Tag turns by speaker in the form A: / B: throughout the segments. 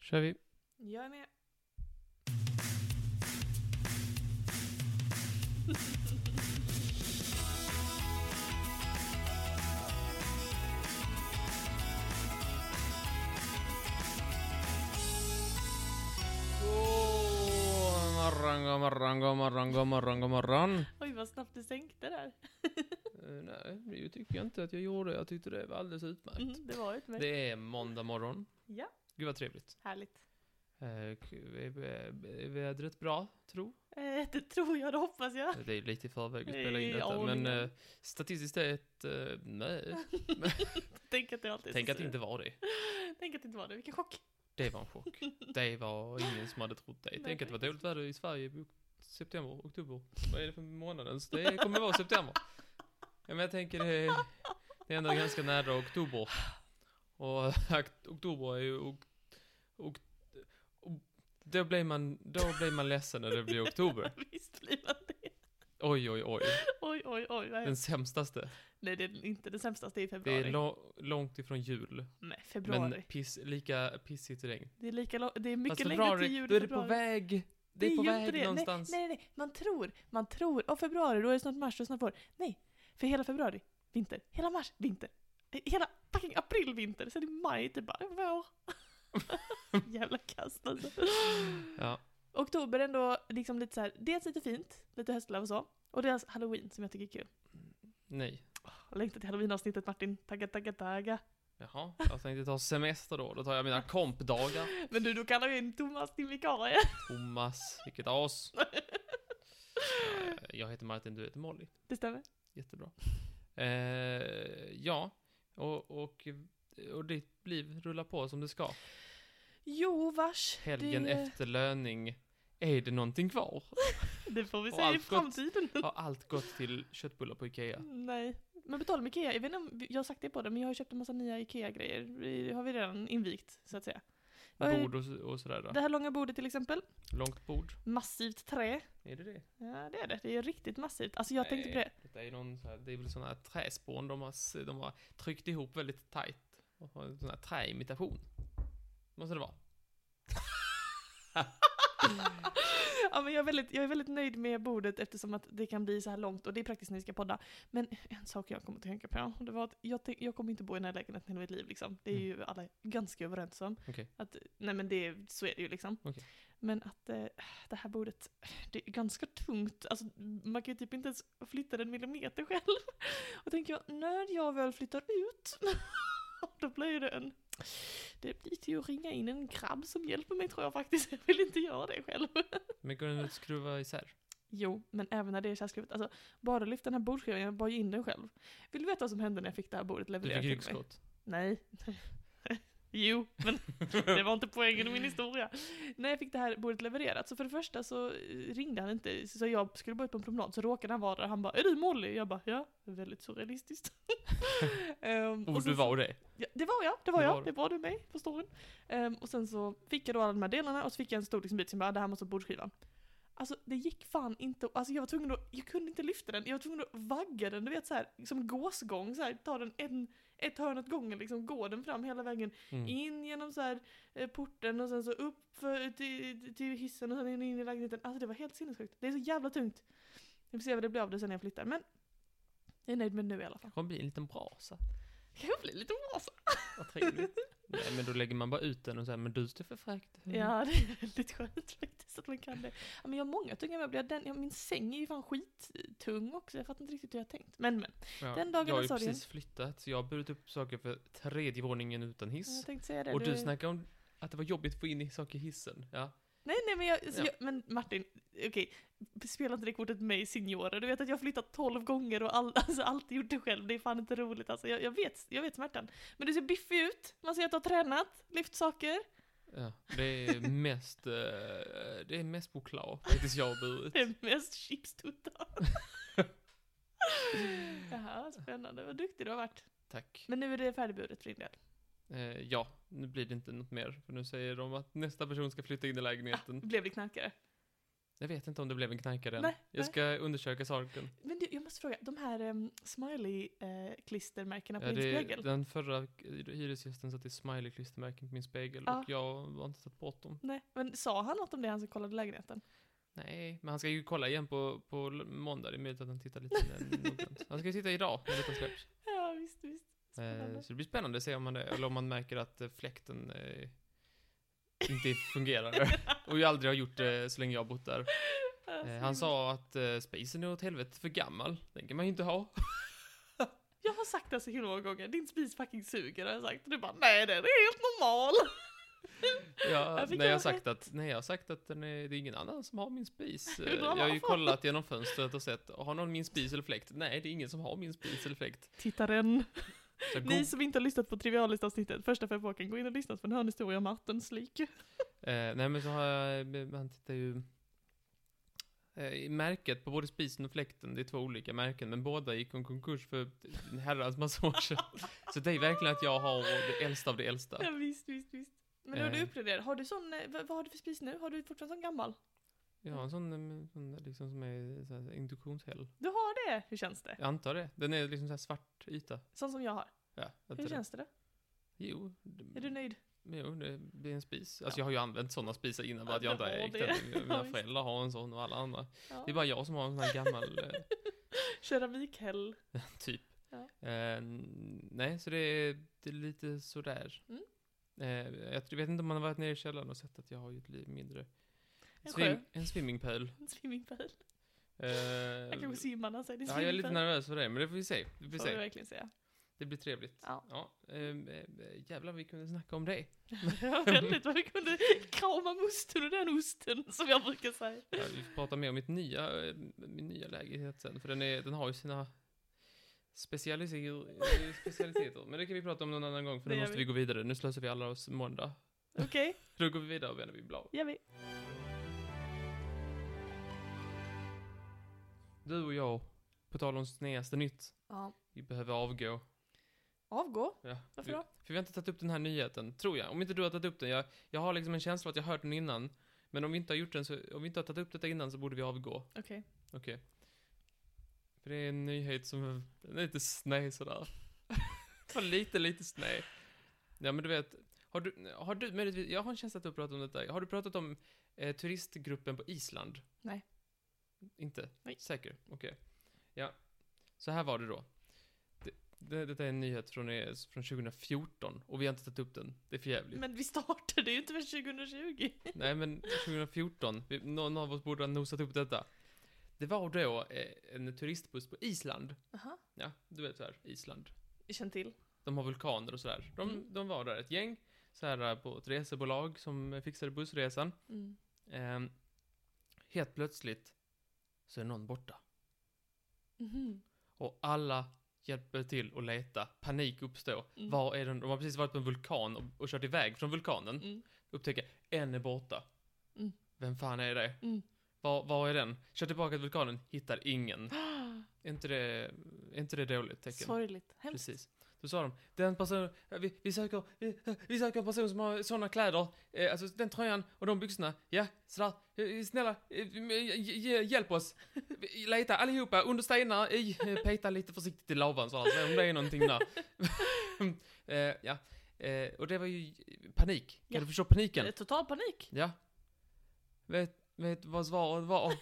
A: kör vi.
B: Jag är med.
A: God morgon, god morgon, god morgon, god morgon, god morgon.
B: Oj, vad snabbt du sänkte där.
A: Eh, nej, det tycker jag inte att jag gjorde. Jag tyckte det var alldeles utmärkt.
B: Mm, det var utmärkt.
A: Det är måndag morgon.
B: Ja,
A: Gud vad trevligt.
B: härligt.
A: Eh, k- är- är- är vädret bra, tro?
B: Eh, det tror jag, det hoppas jag.
A: Det är lite i förväg vi
B: Eh,
A: spelar in detta,
B: ja,
A: men
B: det-
A: eh, statistiskt sett, eh, nej.
B: Tänk att det alltid är
A: Tänk
B: så
A: att det
B: sur.
A: inte var det.
B: Tänk att det inte var det, vilken chock.
A: Det var en chock. Det var ingen som hade trott det.
B: Nej,
A: Tänk att det var
B: faktiskt.
A: dåligt väder i Sverige i ok- september, oktober. Vad är det för månad ens? Det kommer vara september. Ja, men jag tänker eh, det är, det är ändå ganska nära oktober. Och ak- oktober är ju... Ok, ok, ok, då, blir man, då blir man ledsen när det blir oktober.
B: Visst blir man det.
A: Oj, oj, oj.
B: Oj, oj, oj. Vad
A: Den
B: hemskt.
A: sämstaste.
B: Nej, det är inte det sämsta, det är
A: Det
B: februari.
A: är lo- långt ifrån jul.
B: Nej, februari.
A: Men piss, lika pissigt regn.
B: Det är, lika lo- det är
A: Fast
B: mycket längre till
A: februari,
B: jul
A: då är
B: än
A: det på
B: februari.
A: väg. Det är på
B: ju
A: väg
B: inte det.
A: någonstans.
B: Nej, nej, nej. Man tror, man tror. Åh, februari, då är det snart mars, då är det snart vår. Nej, för hela februari, vinter. Hela mars, vinter. Eh, Hela fucking april, vinter. Sen i maj, typ bara vår. Jävla kast alltså.
A: Ja.
B: Oktober ändå liksom lite så här, dels lite fint, lite höstlöv och så. Och dels halloween som jag tycker är kul.
A: Nej.
B: Jag längtar till halloweenavsnittet Martin. Tagga, tagga, tagga.
A: Jaha, jag tänkte ta semester då. Då tar jag mina kompdagar.
B: Men du, då kallar vi in Thomas din vikarie.
A: Thomas, vilket as. Eh, Jag heter Martin, du heter Molly.
B: Det stämmer.
A: Jättebra. Eh, ja, och, och, och ditt liv rullar på som det ska.
B: Jo, vars.
A: Helgen
B: det,
A: efter löning, är det någonting kvar?
B: Det får vi
A: och
B: se i
A: allt gott.
B: framtiden.
A: Har allt gått till köttbullar på Ikea?
B: Nej. Men på tal om Ikea, jag vet inte om vi- jag har sagt det på det, men jag har ju köpt en massa nya Ikea-grejer. Vi har vi redan invigt, så att säga. Vad är-
A: Bord och, så- och sådär
B: Det
A: då.
B: här långa bordet till exempel.
A: Långt bord.
B: Massivt trä.
A: Är det det?
B: Ja, det är det. Det är riktigt massivt. Alltså jag tänkte på det.
A: Nej, detta är någon så här, det är väl sådana här träspån de har, s- de har tryckt ihop väldigt tajt. Och har en sån här träimitation. Måste det vara.
B: ja, men jag, är väldigt, jag är väldigt nöjd med bordet eftersom att det kan bli så här långt och det är praktiskt när vi ska podda. Men en sak jag kommer att tänka på, det var att jag, tänk, jag kommer inte bo i den här lägenheten hela mitt liv liksom. Det är ju alla ganska överens om.
A: Mm. Okej.
B: Att, nej men det, så är det ju liksom.
A: Okej.
B: Men att eh, det här bordet, det är ganska tungt. Alltså man kan ju typ inte ens flytta den millimeter själv. Och tänker jag, när jag väl flyttar ut, då blir det en... Det blir till att ringa in en grabb som hjälper mig tror jag faktiskt. Jag vill inte göra det själv.
A: Men går den att skruva isär?
B: Jo, men även när det är kärlskrivet. Alltså, bara lyft den här bordsskivan, jag bar ju in den själv. Vill du veta vad som hände när jag fick det här bordet
A: Du
B: levererat
A: fick
B: till mig?
A: ryggskott.
B: Nej. jo, men det var inte poängen i min historia. När jag fick det här bordet levererat, så för det första så eh, ringde han inte. Så jag skulle bara ut på en promenad, så råkade han vara där. Han bara ”Är du Molly?” Jag bara ”Ja”. Väldigt surrealistiskt. Ehm,
A: Och
B: och
A: du
B: sen-
A: var det.
B: Ja, det var jag, det var
A: Det
B: jag.
A: var du.
B: det var du med på storyn. Ehm, och sen så fick jag då alla de här delarna och så fick jag en stor liksom bit som bara, det här måste vara bordsskivan. Alltså det gick fan inte, alltså jag var tvungen att, jag kunde inte lyfta den, jag var tvungen att vagga den, du vet såhär, som gåsgång såhär, ta den en, ett hörn åt gången liksom, gå den fram hela vägen
A: Mm.
B: in genom så här, eh, porten och sen så upp för, till, till hissen och sen in, in i lägenheten. Alltså det var helt sinnessjukt. Det är så jävla tungt. Vi får se vad det blir av det sen när jag flyttar. Men jag är nöjd med det nu i alla fall.
A: Det kommer bli en liten brasa.
B: Kanske blir lite oasa.
A: Vad trevligt. Nej, men då lägger man bara ut den och säger men du står för fräckt.
B: Ja, det är väldigt skönt faktiskt att man kan det. Ja, men jag har många tunga möbler. Den, ja, min säng är ju fan skittung också. Jag fattar inte riktigt hur jag har tänkt. Men men.
A: Ja,
B: den dagen
A: Jag har
B: är
A: ju
B: sorgen.
A: precis flyttat, så jag har burit upp saker för tredje våningen utan
B: Jag
A: hiss.
B: tänkte säga det.
A: Och du
B: Det-
A: snackar om att det var jobbigt att få in i saker i hissen. Ja.
B: Nej, nej, men, jag, alltså,
A: Ja.
B: jag, men Martin, okej. Spela inte det kortet med mig, signora. Du vet att jag har flyttat tolv gånger och all, alltså, alltid gjort det själv. Det är fan inte roligt. Alltså, jag, jag, vet, jag vet smärtan. Men du ser biffig ut. Man ser att du har tränat, lyft saker.
A: Ja, det är mest, eh, det är mest choklad faktiskt jag har burit.
B: Det är mest chipstuttar. Jaha, spännande. Vad duktig du har varit.
A: Tack.
B: Men nu är det färdigburet för din del.
A: Eh, ja, nu blir det inte något mer. För nu säger de att nästa person ska flytta in i lägenheten.
B: Blev det knarkare?
A: Jag vet inte om det blev en knarkare än.
B: Nej,
A: Jag
B: nej.
A: ska undersöka saken.
B: Men du, jag måste fråga, de här um, smiley-klistermärkena på
A: Ja,
B: din
A: det-
B: spegel?
A: den förra hyresgästen satte smiley-klistermärken på min spegel
B: Ja.
A: och jag har inte satt bort dem.
B: Nej, men sa han något om det, han som kollade lägenheten?
A: Nej, men han ska ju kolla igen på, på l- måndag. Det är möjligt att han tittar lite mer noggrant. Han ska ju titta idag när detta släpps.
B: Ja, visst, visst.
A: Eh,
B: Spännande.
A: så det blir spännande att se om man, eller om man märker att eh, fläkten eh, inte fungerar. och ju aldrig har gjort det så länge jag har bott där.
B: Ja,
A: Eh,
B: så
A: han
B: himla-
A: sa att eh, spisen är åt helvete för gammal. Den kan man ju inte ha.
B: Jag har sagt det så himla många gånger, din spis fucking suger har jag sagt. Och du bara, nej den är helt normal.
A: Ja,
B: Jag fick
A: nej, jag har
B: göra
A: sagt att, nej, jag har sagt att den är, det är ingen annan som har min spis. Eh,
B: Undrar
A: Jag har ju
B: varför.
A: kollat genom fönstret och sett, har någon min spis eller fläkt? Nej, det är ingen som har min spis eller fläkt.
B: Tittaren,
A: Så go-
B: ni som inte har lyssnat på Trivialist-avsnittet, första fem åken, gå in och lyssna på en hörn historia om Artens lik.
A: eh, nej, men så har jag, men han tittar ju eh, i märket på både spisen och fläkten, det är två olika märken, men båda gick om konkurs för en herrans massa år sedan. Så det är verkligen att jag har det äldsta av det äldsta.
B: Ja, visst, visst, visst. Men nu har du
A: Eh.
B: uppgraderat, har du sån, eh, vad, vad har du för spis nu? Har du fortfarande sån gammal?
A: Jag har en sån, eh, sån där liksom som är så här, induktionshäll.
B: Du har det, hur känns det?
A: Jag antar det. Den är liksom så här svart yta.
B: Sån som jag har.
A: Ja, jag
B: Hur
A: tror det. Mm.
B: känns det då?
A: Jo.
B: Är du nöjd?
A: Jo, det blir en spis. Alltså
B: Ja.
A: jag har ju använt sådana spisar innan, bara
B: Ja,
A: att jag
B: du
A: inte har
B: har
A: ägt
B: det.
A: den.
B: Ja,
A: Mina
B: visst.
A: föräldrar har en sån och alla andra.
B: Ja.
A: Det är bara jag som har en sån här gammal, eh,
B: Keramikhäll.
A: typ.
B: Ja.
A: Eh, nej, så det är, det är lite sådär.
B: Mm.
A: Eh, jag tror- vet inte om man har varit nere i källaren och sett att jag har ju ett liv mindre.
B: En
A: Swim,
B: sjö.
A: en swimmingpool.
B: En swimmingpool.
A: Eh,
B: Jag kanske simmar när han säger det. är
A: ja, jag är lite
B: swimmingpool.
A: nervös för det, men det får vi se. Det, får vi
B: Får vi
A: se.
B: verkligen säga.
A: det blir trevligt.
B: Ja.
A: ehm, eh, jävlar, vi kunde snacka om det.
B: Ja, väldigt vad vi kunde krama musten och den osten som jag brukar säga.
A: Ja, vi får prata mer om mitt nya, eh, min nya lägenhet sen, för den, är, den har ju sina specialiser- eh, specialiteter. Men det kan vi prata om någon annan gång, för
B: Det
A: nu
B: gör
A: måste
B: vi.
A: vi gå vidare. Nu slösar vi alla oss måndag.
B: Okej,
A: Då går vi vidare och vänder vi blad.
B: gör vi.
A: Du och jag, på tal om snedaste nytt,
B: Ja.
A: vi behöver avgå.
B: Avgå.
A: Ja,
B: Varför
A: vi,
B: då?
A: För vi har inte tagit upp den här nyheten, tror jag. Om inte du har tagit upp den. Jag, jag har liksom en känsla att jag har hört den innan. Men om vi inte har gjort den, så, om vi inte har tagit upp detta innan så borde vi avgå.
B: Okej.
A: Okej. För det är en nyhet som den är lite sned sådär. Bara lite, lite sned. Ja men du vet, har du, har du möjligtvis, jag har en känsla att du har pratat om detta. Har du pratat om eh, turistgruppen på Island?
B: Nej.
A: Inte?
B: Nej.
A: Säker? Okej. Ja. Så här var det då. Det, det, detta är en nyhet från, eh, från 2014 och vi har inte tagit upp den. Det är för jävligt.
B: Men vi startade ju inte för 2020.
A: Nej men 2014, vi, någon av oss borde ha nosat upp detta. Det var då eh, en turistbuss på Island.
B: Aha.
A: Ja, du vet så här, Island.
B: Jag känner till.
A: De har vulkaner och sådär. De,
B: Mm.
A: de var där ett gäng, så här eh, på ett resebolag som eh, fixade bussresan.
B: Mm.
A: Ehm, helt plötsligt så är någon borta.
B: Mhm.
A: Och alla hjälper till att leta. Panik uppstår.
B: Mm.
A: Var är den? De har precis varit på en vulkan och, och kört iväg från vulkanen.
B: Mm.
A: Upptäcker, en är borta.
B: Mm.
A: Vem fan är det?
B: Mm.
A: Var, var är den? Kör tillbaka till vulkanen, hittar ingen. Är inte det, är inte det dåligt tecken?
B: Sorgligt. Hemskt.
A: Precis. Då sa de, den personen, eh, vi, vi, söker, vi, eh, vi söker en person som har sådana kläder, eh, alltså den tröjan och de byxorna, ja, sådär, eh, snälla, eh, eh, hj- hjälp oss. Leta allihopa under stenar, i, eh, peta lite försiktigt i lavan sådär, se om det är någonting där. eh, ja, eh, och det var ju panik. Kan
B: Ja.
A: du förstå paniken?
B: Eh, Total panik.
A: Ja. Vet, vet vad svaret var?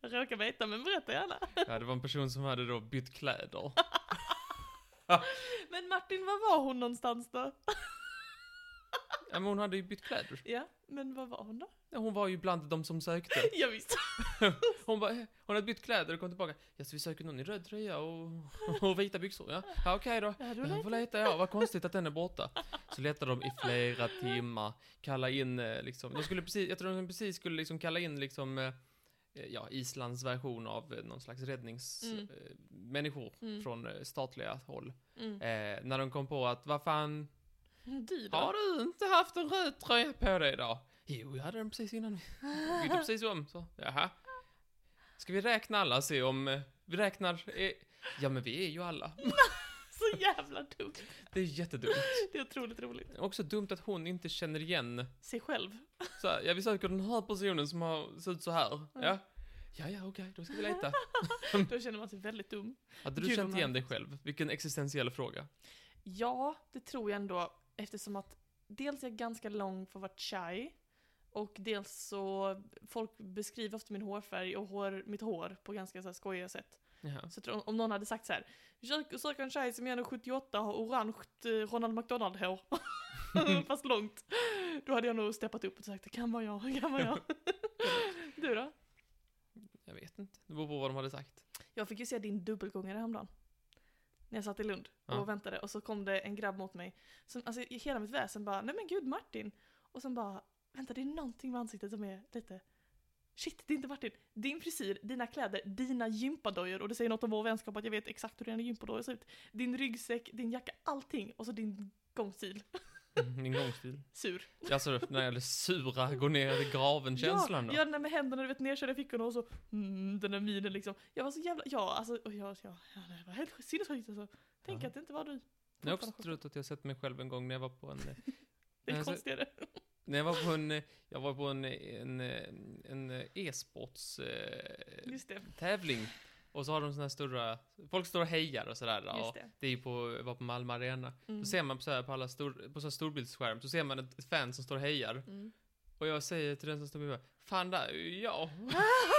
B: Jag råkar veta, men berätta gärna.
A: Ja, det var en person som hade då bytt kläder.
B: Men Martin, var var hon någonstans då?
A: Ja, men hon hade ju bytt kläder.
B: Ja, men var var hon då?
A: Ja, Hon var ju bland de som sökte.
B: Jag visste.
A: Hon bara, "Eh, hon hade bytt kläder och kom tillbaka. Ja, så vi söker någon i röd tröja och, och vita byxor. Ja, ja okej då.
B: Ja, du
A: Jag
B: vet.
A: får leta, ja. Vad konstigt att den är borta. Så letade de i flera timmar. Kalla in eh, liksom, de skulle precis, jag tror de precis skulle liksom kalla in liksom, eh, ja, Islands version av eh, någon slags
B: Mm.
A: räddningsmänniskor eh, människor
B: Mm.
A: från eh, statliga håll.
B: Mm.
A: Eh, när de kom på att, vad fan,
B: Du då?
A: har du inte haft en röd tröja på dig idag? Jo, jag hade den precis innan. Vi bytte precis om, så. Jaha. Ska vi räkna alla och se om... eh, Vi räknar... eh, Ja, men vi är ju alla.
B: Så jävla dumt.
A: Det är jättedumt.
B: Det är otroligt roligt.
A: Också dumt att hon inte känner igen.
B: Sig själv.
A: Så här, ja, vi söker den här personen som har ser ut så här.
B: Mm.
A: Ja. Ja, ja, okej, då ska vi leta.
B: Då känner man sig väldigt dum.
A: Hade du
B: Gud,
A: känt
B: vad
A: igen dig själv? Vilken existentiell fråga.
B: Ja, det tror jag ändå. Eftersom att dels är jag ganska lång för att vara shy. Och dels så, folk beskriver ofta min hårfärg och hår, mitt hår på ganska så här skojiga sätt.
A: Ja.
B: Så jag tror, om någon hade sagt så här, "Sök- sök en tjej som är 1,78 har orange eh, Ronald McDonald-hår. Fast långt. Då hade jag nog steppat upp och sagt, det kan vara jag, det kan vara jag. du då?
A: Jag vet inte. Det beror på vad de hade sagt.
B: Jag fick ju se din dubbelgångare häromdagen. När jag satt i Lund och
A: Ja.
B: väntade och så kom det en grabb mot mig. Som, alltså i hela mitt väsen bara, nej men gud Martin. Och sen bara, vänta det är någonting med ansiktet som är lite, shit det är inte Martin. Din frisyr, dina kläder, dina gympadojor och det säger något om vår vänskap att jag vet exakt hur dina gympadojor ser ut. Din ryggsäck, din jacka, allting och så din gångstil. Mm,
A: Min gångstil.
B: Sur.
A: Alltså den där jävla sura, gå ner i graven-känslan
B: ja,
A: då.
B: ja, den där med händerna du vet nerkörda i fickorna och så, mm, den där minen liksom. Jag var så jävla, ja alltså, och jag, jag, jag det var helt sinnessjukt alltså. Tänk
A: Ja.
B: att det inte var du.
A: Jag har också
B: Fortfarande
A: trott att jag sett mig själv en gång när jag var på en... eh,
B: Det är
A: Alltså-
B: konstigare.
A: När jag var på en... eh, Jag var på en, eh, en, eh, en eh, e-sports... eh,
B: Just det.
A: tävling. Och så har de såna här stora... Folk står och hejar och sådär.
B: Just
A: Och
B: det.
A: det är ju på, var på Malmö Arena.
B: Mm.
A: Då ser man på, så här, på alla stor, på så här storbildsskärm, så ser man ett, ett fan som står och hejar.
B: Mm.
A: Och jag säger till den som står bredvid mig, Fan där är ju jag.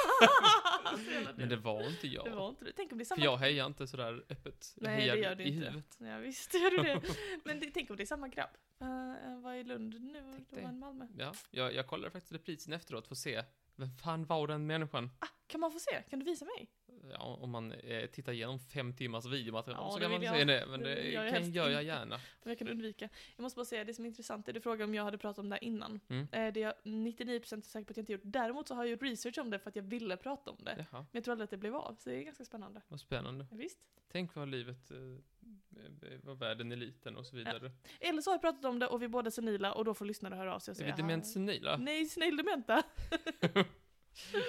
B: Så jävla dumt.
A: Men det var inte jag.
B: Det var inte du. Tänk om det är
A: För
B: samma...
A: jag hejar inte sådär öppet. Jag
B: Nej,
A: hejar
B: det gör du
A: i
B: inte.
A: huvudet.
B: Ja, visst gör du det. Men det, tänk om det är samma grabb. Uh, var i Lund nu och
A: Tänk
B: då var
A: dig.
B: i Malmö.
A: Ja, jag, jag kollade faktiskt reprisen efteråt för att se. Vem fan var den människan?
B: Ah, kan man få se? Kan du visa mig?
A: Ja, om man eh, tittar igenom fem timmars videomaterial
B: Ja,
A: så
B: det
A: kan man
B: vill
A: se
B: jag.
A: det. Men
B: Det
A: det
B: vill jag
A: kan
B: helst
A: gör jag
B: inte.
A: gärna.
B: Om jag kan undvika. Jag måste bara säga, det som är intressant är du frågade om jag hade pratat om det här innan.
A: Mm.
B: Eh, det är jag 99% säker på att jag inte gjort. Däremot så har jag gjort research om det för att jag ville prata om det. Men
A: Jaha,
B: jag tror aldrig att det blev av, så det är ganska spännande.
A: vad spännande.
B: Ja, visst.
A: Tänk vad livet, eh, eh, vad världen är liten och så vidare.
B: Eller så har jag pratat om det och vi är båda senila och då får lyssnare höra av sig och
A: Är
B: säga
A: vi dement
B: "Ah,
A: senila?
B: Nej, snäll dementa.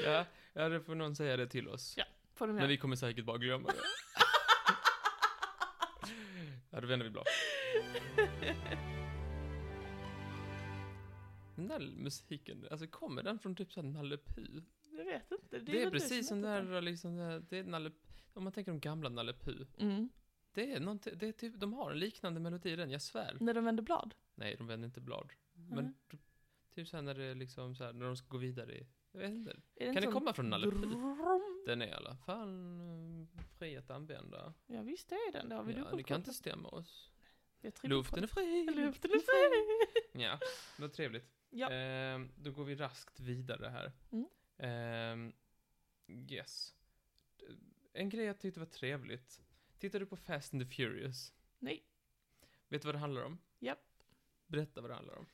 A: ja, ja, det får någon säga det till oss.
B: Ja, Får de
A: Men
B: göra.
A: vi kommer säkert bara glömma det. ja, då vänder vi blad. Den där musiken, alltså kommer den från typ såhär Nalle Puh?
B: Jag vet inte.
A: Det,
B: väl
A: är
B: du
A: precis som det
B: vet
A: där liksom, det, här- det är Nalle, om man tänker de gamla Nalle Puh.
B: det. Mm.
A: Det är någonting, det är typ, de har en liknande melodi i den, jag svär.
B: När de vänder blad.
A: Nej, de vänder inte blad.
B: Mhm.
A: Men t- typ såhär när det är liksom såhär, när de ska gå vidare i, jag vet inte.
B: Är
A: Kan
B: inte
A: det
B: sån-
A: komma från Nalle Puh?
B: Brum.
A: Den är i alla fall eh, fri att använda.
B: Ja visst det är den, det har vi
A: ja,
B: dubbelkollat.
A: det kan inte stämma oss.
B: Vi har trippel-
A: Luften är fri!
B: Luften är fri!
A: Ja, vad trevligt.
B: Ja.
A: Ehm, då går vi raskt vidare här.
B: Mm.
A: Ehm, yes. En grej jag tyckte var trevligt. Tittar du på Fast and the Furious?
B: Nej,
A: Vet du vad det handlar om?
B: Japp.
A: Berätta vad det handlar om.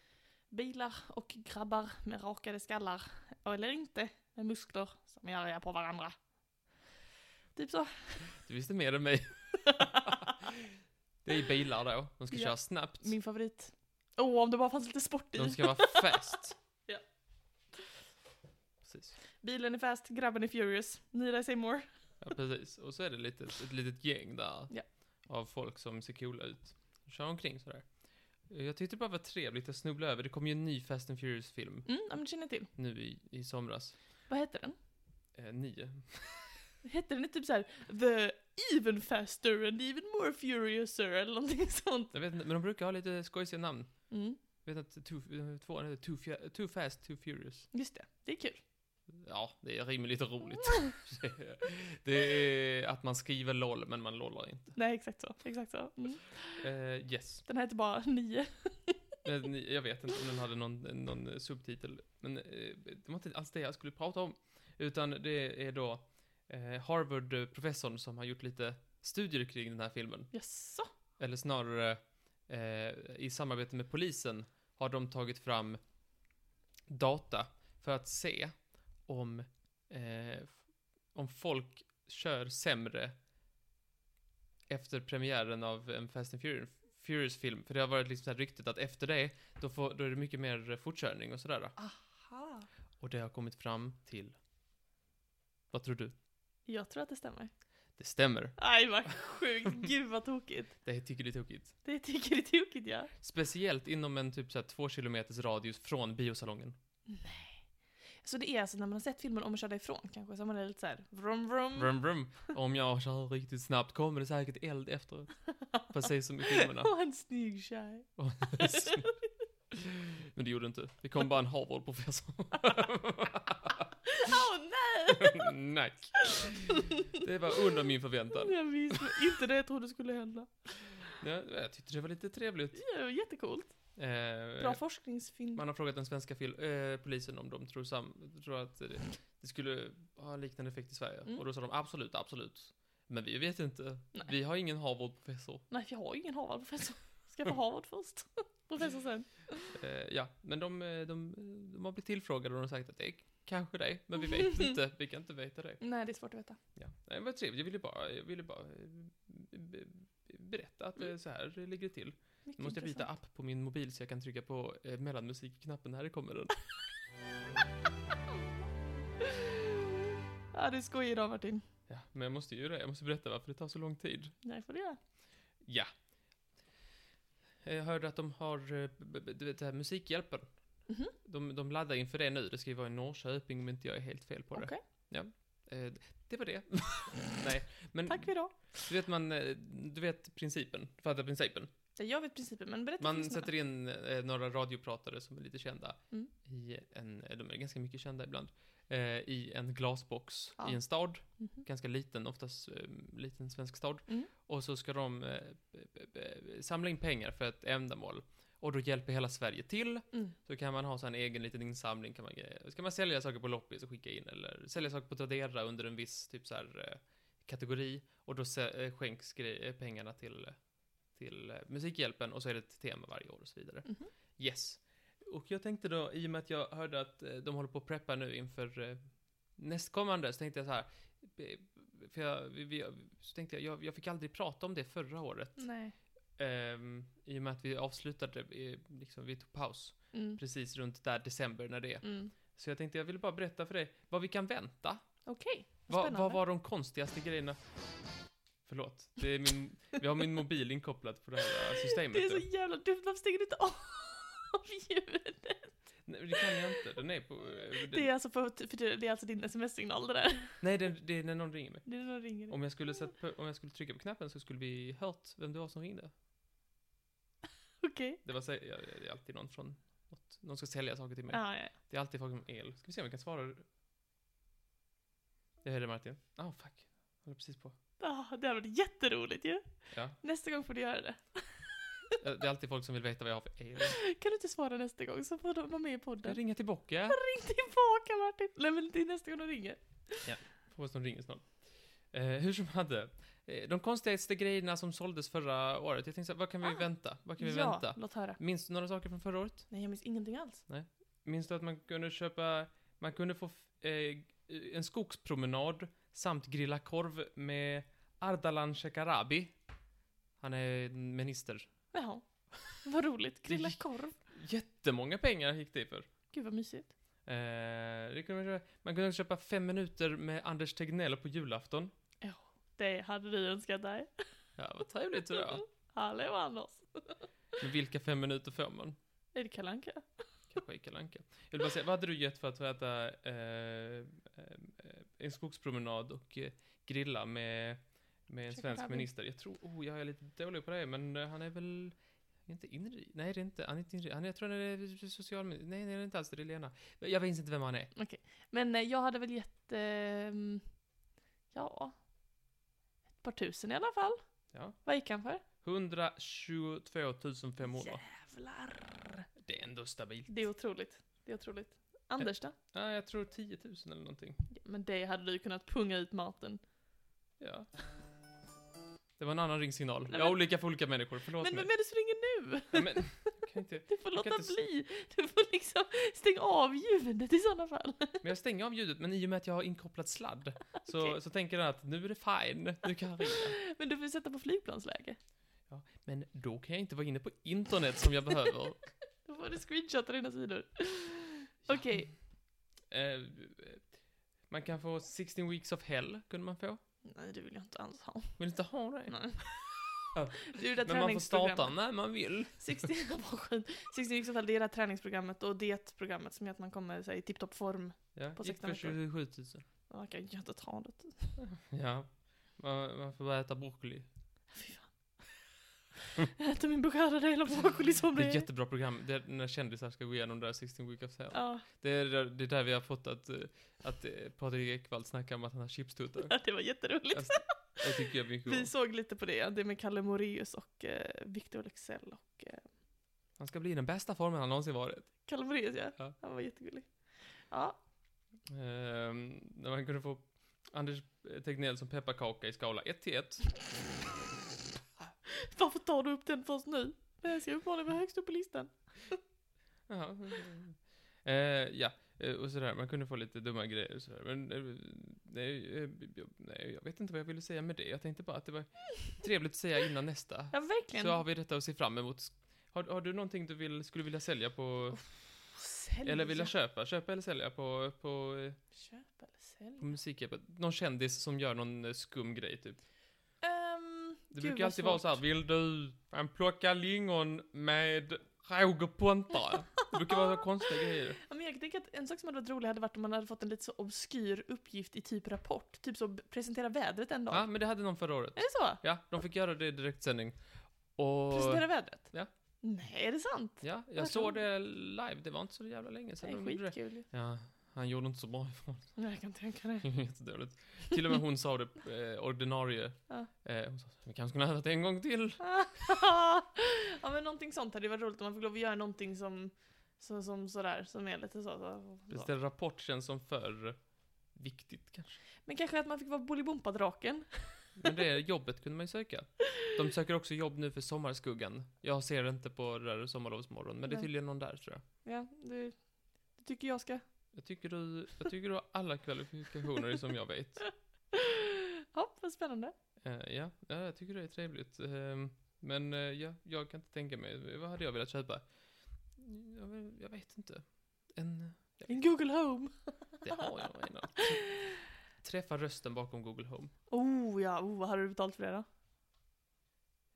B: bilar och grabbar med rakade skallar. Eller inte, med muskler som är arga på varandra. Typ så.
A: Du visste mer än mig. det är bilar då. De ska
B: Ja.
A: köra snabbt.
B: Min favorit. Åh, oh, om det bara fanns lite sport i.
A: De ska vara fast.
B: Ja.
A: Precis.
B: Bilen är fast, grabben är furious. Nira är Seymour.
A: Ja, precis. Och så är det lite, ett litet gäng där.
B: Ja.
A: Av folk som ser coola ut. Kör omkring sådär. Jag tyckte det bara var trevligt att snubbla över. Det kom ju en ny Fast and Furious-film
B: Mm, ja, men det känner jag till.
A: nu i, i somras.
B: Vad heter den?
A: Eh, nio.
B: Hette den inte typ såhär The Even Faster and Even More Furiouser eller någonting sånt?
A: Jag vet inte, men de brukar ha lite skojsiga namn.
B: Mm,
A: Jag vet att two, eh, tvåan heter too, Fia- too Fast, Too Furious.
B: just det. Det är kul.
A: Ja, det är rimligt roligt. det är att man skriver LOL, men man lollar inte.
B: Nej, exakt så. Exakt så. Mm.
A: Eh, yes.
B: Den här heter bara 9.
A: Eh, ni- Jag vet inte om den hade någon, någon eh, subtitel, men eh, det var inte alls det jag skulle prata om. Utan det är då eh, Harvard-professorn som har gjort lite studier kring den här filmen.
B: Jaså?
A: Eller snarare, eh, i samarbete med polisen har de tagit fram data för att se om, eh, f- om folk kör sämre efter premiären av en Fast and Furious- Furious-film. För det har varit liksom så här ryktet att efter det, då, får, då är det mycket mer fortkörning och sådär.
B: Aha.
A: Och det har kommit fram till, vad tror du?
B: Jag tror att det stämmer.
A: Det stämmer.
B: Aj vad sjukt, gud vad tokigt.
A: Det tycker du är tokigt.
B: Det tycker det är tokigt ja.
A: Speciellt inom en typ så här två kilometers radius från biosalongen.
B: Så det är alltså när man har sett filmen om att köra ifrån kanske, så man är lite såhär vrum vrum.
A: Vrum, vrum. Om jag kör riktigt snabbt kommer det säkert eld efteråt. Precis som i filmerna.
B: Och en snygg tjej.
A: Men det gjorde det inte. Det kom bara en Harvard-professor.
B: Åh nej!
A: Nej. Det var under min förväntan.
B: Jag visste inte det jag trodde skulle hända.
A: Ja, jag tyckte det var lite trevligt.
B: Ja, det var jättecoolt.
A: Eh,
B: Bra forskningsfynd.
A: Man har frågat den svenska fil- eh, polisen om de tror, sam- tror att det, det skulle ha en liknande effekt i Sverige.
B: Mm.
A: Och då sa de absolut, absolut. Men vi vet inte.
B: Nej.
A: Vi har ingen Harvard-professor.
B: Nej, för jag har ju ingen Harvard-professor. Ska jag få Harvard först? Professor sen.
A: Eh, ja, men de, eh, de, de har blivit tillfrågade och de har sagt att det är kanske det, men vi vet inte. Vi kan inte veta det.
B: Nej, det är svårt att veta.
A: Ja. Nej, men vad trevligt. Jag ville bara, jag ville bara eh, be- berätta att det är så här det ligger till.
B: Mycket
A: Nu måste jag byta
B: Mm. intressant.
A: app på min mobil så jag kan trycka på eh, mellanmusikknappen. Här kommer den.
B: Ja, du skojar idag Martin.
A: Ja, men jag måste ju det. Jag måste berätta varför det tar så lång tid.
B: Nej, får du göra.
A: Ja. Eh, Jag hörde att de har, eh, b- b- du vet det här Musikhjälpen.
B: Mhm.
A: De, de laddar inför det nu. Det ska ju vara i Norrköping om inte jag är helt fel på det.
B: Okej.
A: Eh, Det var det. Nej, men
B: Tack för idag.
A: du vet man, eh, du vet principen. Du fattar principen.
B: Ja, jag vet principen, men berätta
A: Man
B: för lyssnarna.
A: sätter in eh, några radiopratare som är lite kända
B: Mm.
A: i en, eh, de är ganska mycket kända ibland, eh, i en glasbox
B: Ja.
A: i en stad,
B: Mhm.
A: ganska liten, oftast eh, liten svensk stad.
B: Mm.
A: Och så ska de eh, b- b- b- samla in pengar för ett ändamål. Och då hjälper hela Sverige till.
B: Mm.
A: Så kan man ha så här en egen liten insamling. Kan man, greja. ska man sälja saker på loppis och skicka in eller sälja saker på Tradera under en viss typ så här, eh, kategori. Och då se- eh, skänks grej, eh, pengarna till, till eh, Musikhjälpen och så är det ett tema varje år och så vidare.
B: Mhm.
A: Yes. Och jag tänkte då, i och med att jag hörde att eh, de håller på att preppa nu inför eh, nästkommande, så tänkte jag så här. eh, För jag, vi, vi, så tänkte jag, jag, jag fick aldrig prata om det förra året.
B: Nej.
A: Ehm, I och med att vi avslutade, eh, liksom, vi tog paus
B: Mm.
A: precis runt där december när det är.
B: Mm.
A: Så jag tänkte, jag ville bara berätta för dig vad vi kan vänta.
B: Okej, vad
A: Vad,
B: spännande.
A: vad var de konstigaste grejerna? Förlåt, det är min, vi har min mobil inkopplad på det här systemet.
B: Det är
A: nu.
B: så jävla dumt, varför stänger du inte av ljudet?
A: Nej, det kan jag inte. Den är på... eh, Den,
B: Det är alltså, på, för det det är alltså din sms-signal det där.
A: Nej, den, det är när någon ringer mig.
B: Det är när de ringer.
A: Om jag, skulle sätta på, om jag skulle trycka på knappen så skulle vi hört vem det var som ringde.
B: Okej.
A: Det var så, ja, det är alltid någon från något, någon ska sälja saker till mig.
B: Ah, ja, ja.
A: Det är alltid folk om el. Ska vi se om vi kan svara? Jag hörde Martin. Ah, fuck. Håller precis på.
B: Ah, det hade varit jätteroligt ju.
A: Ja.
B: Nästa gång får du göra det.
A: Eh, Det är alltid folk som vill veta vad jag har för el.
B: Kan du inte svara nästa gång så får de vara med i podden.
A: Jag ringer tillbaka.
B: Ring tillbaka Martin! Nej men det är nästa gång de ringer.
A: Hoppas de ringer snart. Eh, hur som hade. Eh, de konstigaste grejerna som såldes förra året. Jag tänkte så här, vad kan vi
B: Ah.
A: vänta? Vad kan vi
B: ja,
A: vänta?
B: låt höra.
A: Minns du några saker från förra året?
B: Nej jag minns ingenting alls.
A: Minns du att man kunde köpa, man kunde få eh, en skogspromenad samt grilla korv med Ardalan Shekarabi? Han är minister.
B: Jaha. Vad roligt. Grilla
A: Det-
B: korv.
A: Jättemånga pengar gick det för.
B: Gud vad mysigt.
A: Eh, det kunde man, köpa. man kunde också köpa fem minuter med Anders Tegnell på julafton.
B: Det hade du önskat dig.
A: Ja, vad trevligt tror jag.
B: Hallå Anders.
A: Men vilka fem minuter får man?
B: Är det Kalle Anka?
A: Kanske i Kalle Anka. Jag vill bara säga, vad hade du gett för att få äta eh, eh, en skogspromenad och eh, grilla med, med en
B: Check
A: svensk
B: Rabbit.
A: minister? Jag tror, oh, jag är lite dålig på det, men eh, han är väl är inte inri... Nej, det är inte, han är inte inri... Han, jag tror han är socialminister. Nej, det är inte alls det, det är Lena. Jag minns inte vem han är.
B: Men eh, jag hade väl gett, ehm, ja, ett par tusen i alla fall.
A: Ja.
B: Vad gick han för?
A: 122 500.
B: Jävlar.
A: Det är ändå stabilt.
B: Det är otroligt. Det är otroligt.
A: Eh.
B: Anders då?
A: Ja, jag tror 10 000 eller någonting.
B: Ja, men det hade du ju kunnat punga ut Martin.
A: Ja. Det var en annan ringsignal.
B: Nej,
A: Jag är
B: men-
A: olika för olika människor, förlåt
B: Men
A: mig.
B: vem är det som ringer nu?
A: Ja, men, jag kan inte...
B: Du får
A: Jag kan
B: låta
A: inte s-
B: bli. Du får liksom stänga av ljudet i sådana fall.
A: Men jag stänger av ljudet, men i och med att jag har inkopplat sladd så,
B: Okej.
A: så tänker den att nu är det fine, nu kan jag ringa.
B: Men du får sätta på flygplansläge.
A: Men då kan jag inte vara inne på internet som jag behöver.
B: Då får du screenshotta dina sidor. Okej,
A: Eh, man kan få 16 weeks of hell, kunde man få.
B: Nej, det vill jag inte alls ha.
A: Vill inte ha det.
B: Nej.
A: Ja.
B: Det är ju det
A: Men man får starta
B: träningsprogrammet.
A: när man vill.
B: 60, vad skönt. 60 gick så fall, det är det här träningsprogrammet och dietprogrammet som gör att man kommer så här, i tipptopp form.
A: Ja,
B: På
A: gick
B: 16
A: för
B: veckor.
A: 27 000.
B: Man kan ju inte ta det.
A: Ja. Man, man får bara äta broccoli.
B: Fy fan. Jag äter min beskärda del av broccoli som
A: Det
B: det
A: är ett
B: är.
A: jättebra program, det är när kändisar ska gå igenom det där 16 week of hell.
B: Ja,
A: Det är där, det är där vi har fått att, eh, att eh, Patrik Ekwall snackar om att han har chipstuttar.
B: det var jätteroligt.
A: Alltså, Det tycker jag är mycket
B: Vi
A: om.
B: såg lite på det, det med Kalle Moraeus och eh, Victor Leksell och eh,
A: Han ska bli i den bästa formen han någonsin varit.
B: Kalle Moraeus ja.
A: Ja.
B: Han var jättegullig. Ja,
A: Ehm, när man kunde få Anders Tegnell som pepparkaka i skala 1 till 1.
B: varför tar du upp den först nu? Den ska uppenbarligen vara högst upp på listan.
A: Jaha. Eh, ja, eh, och sådär. Man kunde få lite dumma grejer och sådär. Men eh, nej, eh, jag, nej, jag vet inte vad jag ville säga med det. Jag tänkte bara att det var trevligt att säga innan nästa.
B: Ja, verkligen.
A: Så har vi detta att se fram emot. Har, har du någonting du vill, skulle vilja sälja
B: Oh,
A: på,
B: Sälja.
A: eller vilja köpa? Köpa eller sälja på, på, eh,
B: Köp eller sälj?
A: på musikhjälpen? Någon kändis som gör någon eh, skum grej, typ.
B: Ehm,
A: Det
B: gud,
A: brukar
B: vad
A: alltid vara
B: svårt.
A: så här, vill du man plocka lingon med Roger Pontare? Det brukar vara så konstiga grejer.
B: Ja, men jag tänker att en sak som hade varit rolig hade varit om man hade fått en lite så obskyr uppgift i typ rapport. Typ så b- presentera vädret en dag.
A: Ja, men det hade någon förra året.
B: Är det så?
A: Ja, de fick göra det i direktsändning. Och...
B: Presentera vädret?
A: Ja.
B: Nej, är det sant?
A: Ja, jag
B: Varför?
A: såg det live. Det var inte så jävla länge
B: Det
A: sedan
B: är
A: de gjorde det.
B: skitkul ju.
A: Ja, han gjorde inte så bra ifrån
B: Nej, Jag kan tänka det.
A: sig. Jättedåligt. Till och med hon sa det, eh, ordinarie.
B: Ja.
A: Eh, hon sa, vi kanske kunde ha övat en gång till.
B: ja men någonting sånt hade ju varit roligt om man fick lov att göra någonting som, så, som sådär, som är lite så. så, så.
A: Beställ rapport känns som för viktigt kanske.
B: Men kanske att man fick vara Bolibompa-draken.
A: Men det jobbet kunde man ju söka. De söker också jobb nu för Sommarskuggan. Jag ser det inte på det där Sommarlovsmorgon, men det är
B: Nej.
A: tydligen någon där tror jag.
B: Ja, det, det tycker jag ska.
A: Jag tycker du, jag tycker du har alla kvalifikationer som jag vet.
B: Ja, vad spännande.
A: Eh, ja, ja, jag tycker det är trevligt. Ehm, men eh, ja, jag kan inte tänka mig. Vad hade jag velat köpa? Jag, vet- jag vet inte. En...
B: En Google Home.
A: Det har jag redan. Träffa rösten bakom Google Home.
B: Oh ja, oh, vad hade du betalt för det då?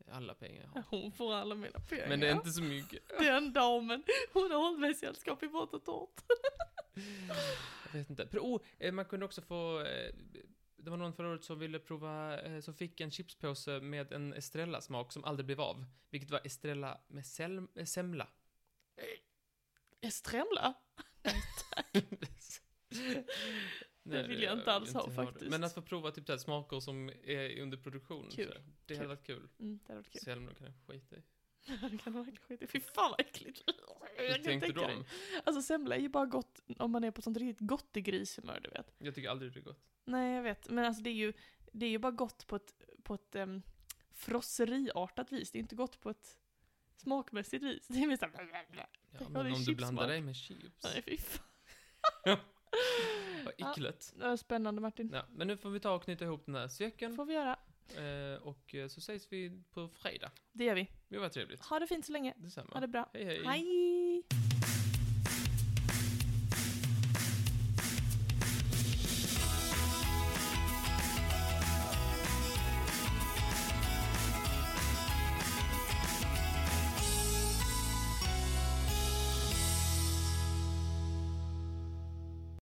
A: Alla pengar jag har.
B: Hon får alla mina pengar.
A: Men det är inte så mycket.
B: Den damen, hon har hållit mig sällskap i vårt och torrt.
A: Jag vet inte. Pro- Oh, eh, man kunde också få... eh, Det var någon förra året som ville prova, eh, som fick en chipspåse med en Estrella-smak som aldrig blev av. Vilket var Estrella med sel- eh, semla.
B: Estremla?
A: Nej,
B: vill jag inte alls ha,
A: det.
B: faktiskt.
A: Men att få prova typ så här, smaker som är under produktion.
B: Kul.
A: så här. Det hade
B: Kul.
A: varit kul.
B: Mm, det hade varit kul.
A: Selma de kan jag skita i.
B: Det kan man verkligen skita i. Fy fan vad äckligt.
A: Hur tänkte
B: tänka
A: de?
B: mig. Alltså semla är ju bara gott om man är på sånt riktigt gottegrishumör, du vet.
A: Jag tycker aldrig det är gott.
B: Nej, jag vet. Men alltså det är ju, det är ju bara gott på ett, på ett um, frosseriartat vis. Det är inte gott på ett smakmässigt vis. Det är mer såhär...
A: Ja,
B: Tänk
A: men
B: om det är
A: om du blandar
B: chipssmak.
A: dig med chips.
B: Nej, fy fan.
A: Vad
B: Ja,
A: äckligt.
B: det var spännande Martin.
A: Ja, men nu får vi ta och knyta ihop den här
B: Det
A: säcken.
B: får vi göra.
A: Eh, och eh, så ses vi på fredag.
B: Det gör vi.
A: Det var trevligt.
B: Ha det fint så länge.
A: Detsamma.
B: Ha det bra.
A: Hej, hej.
B: Hej!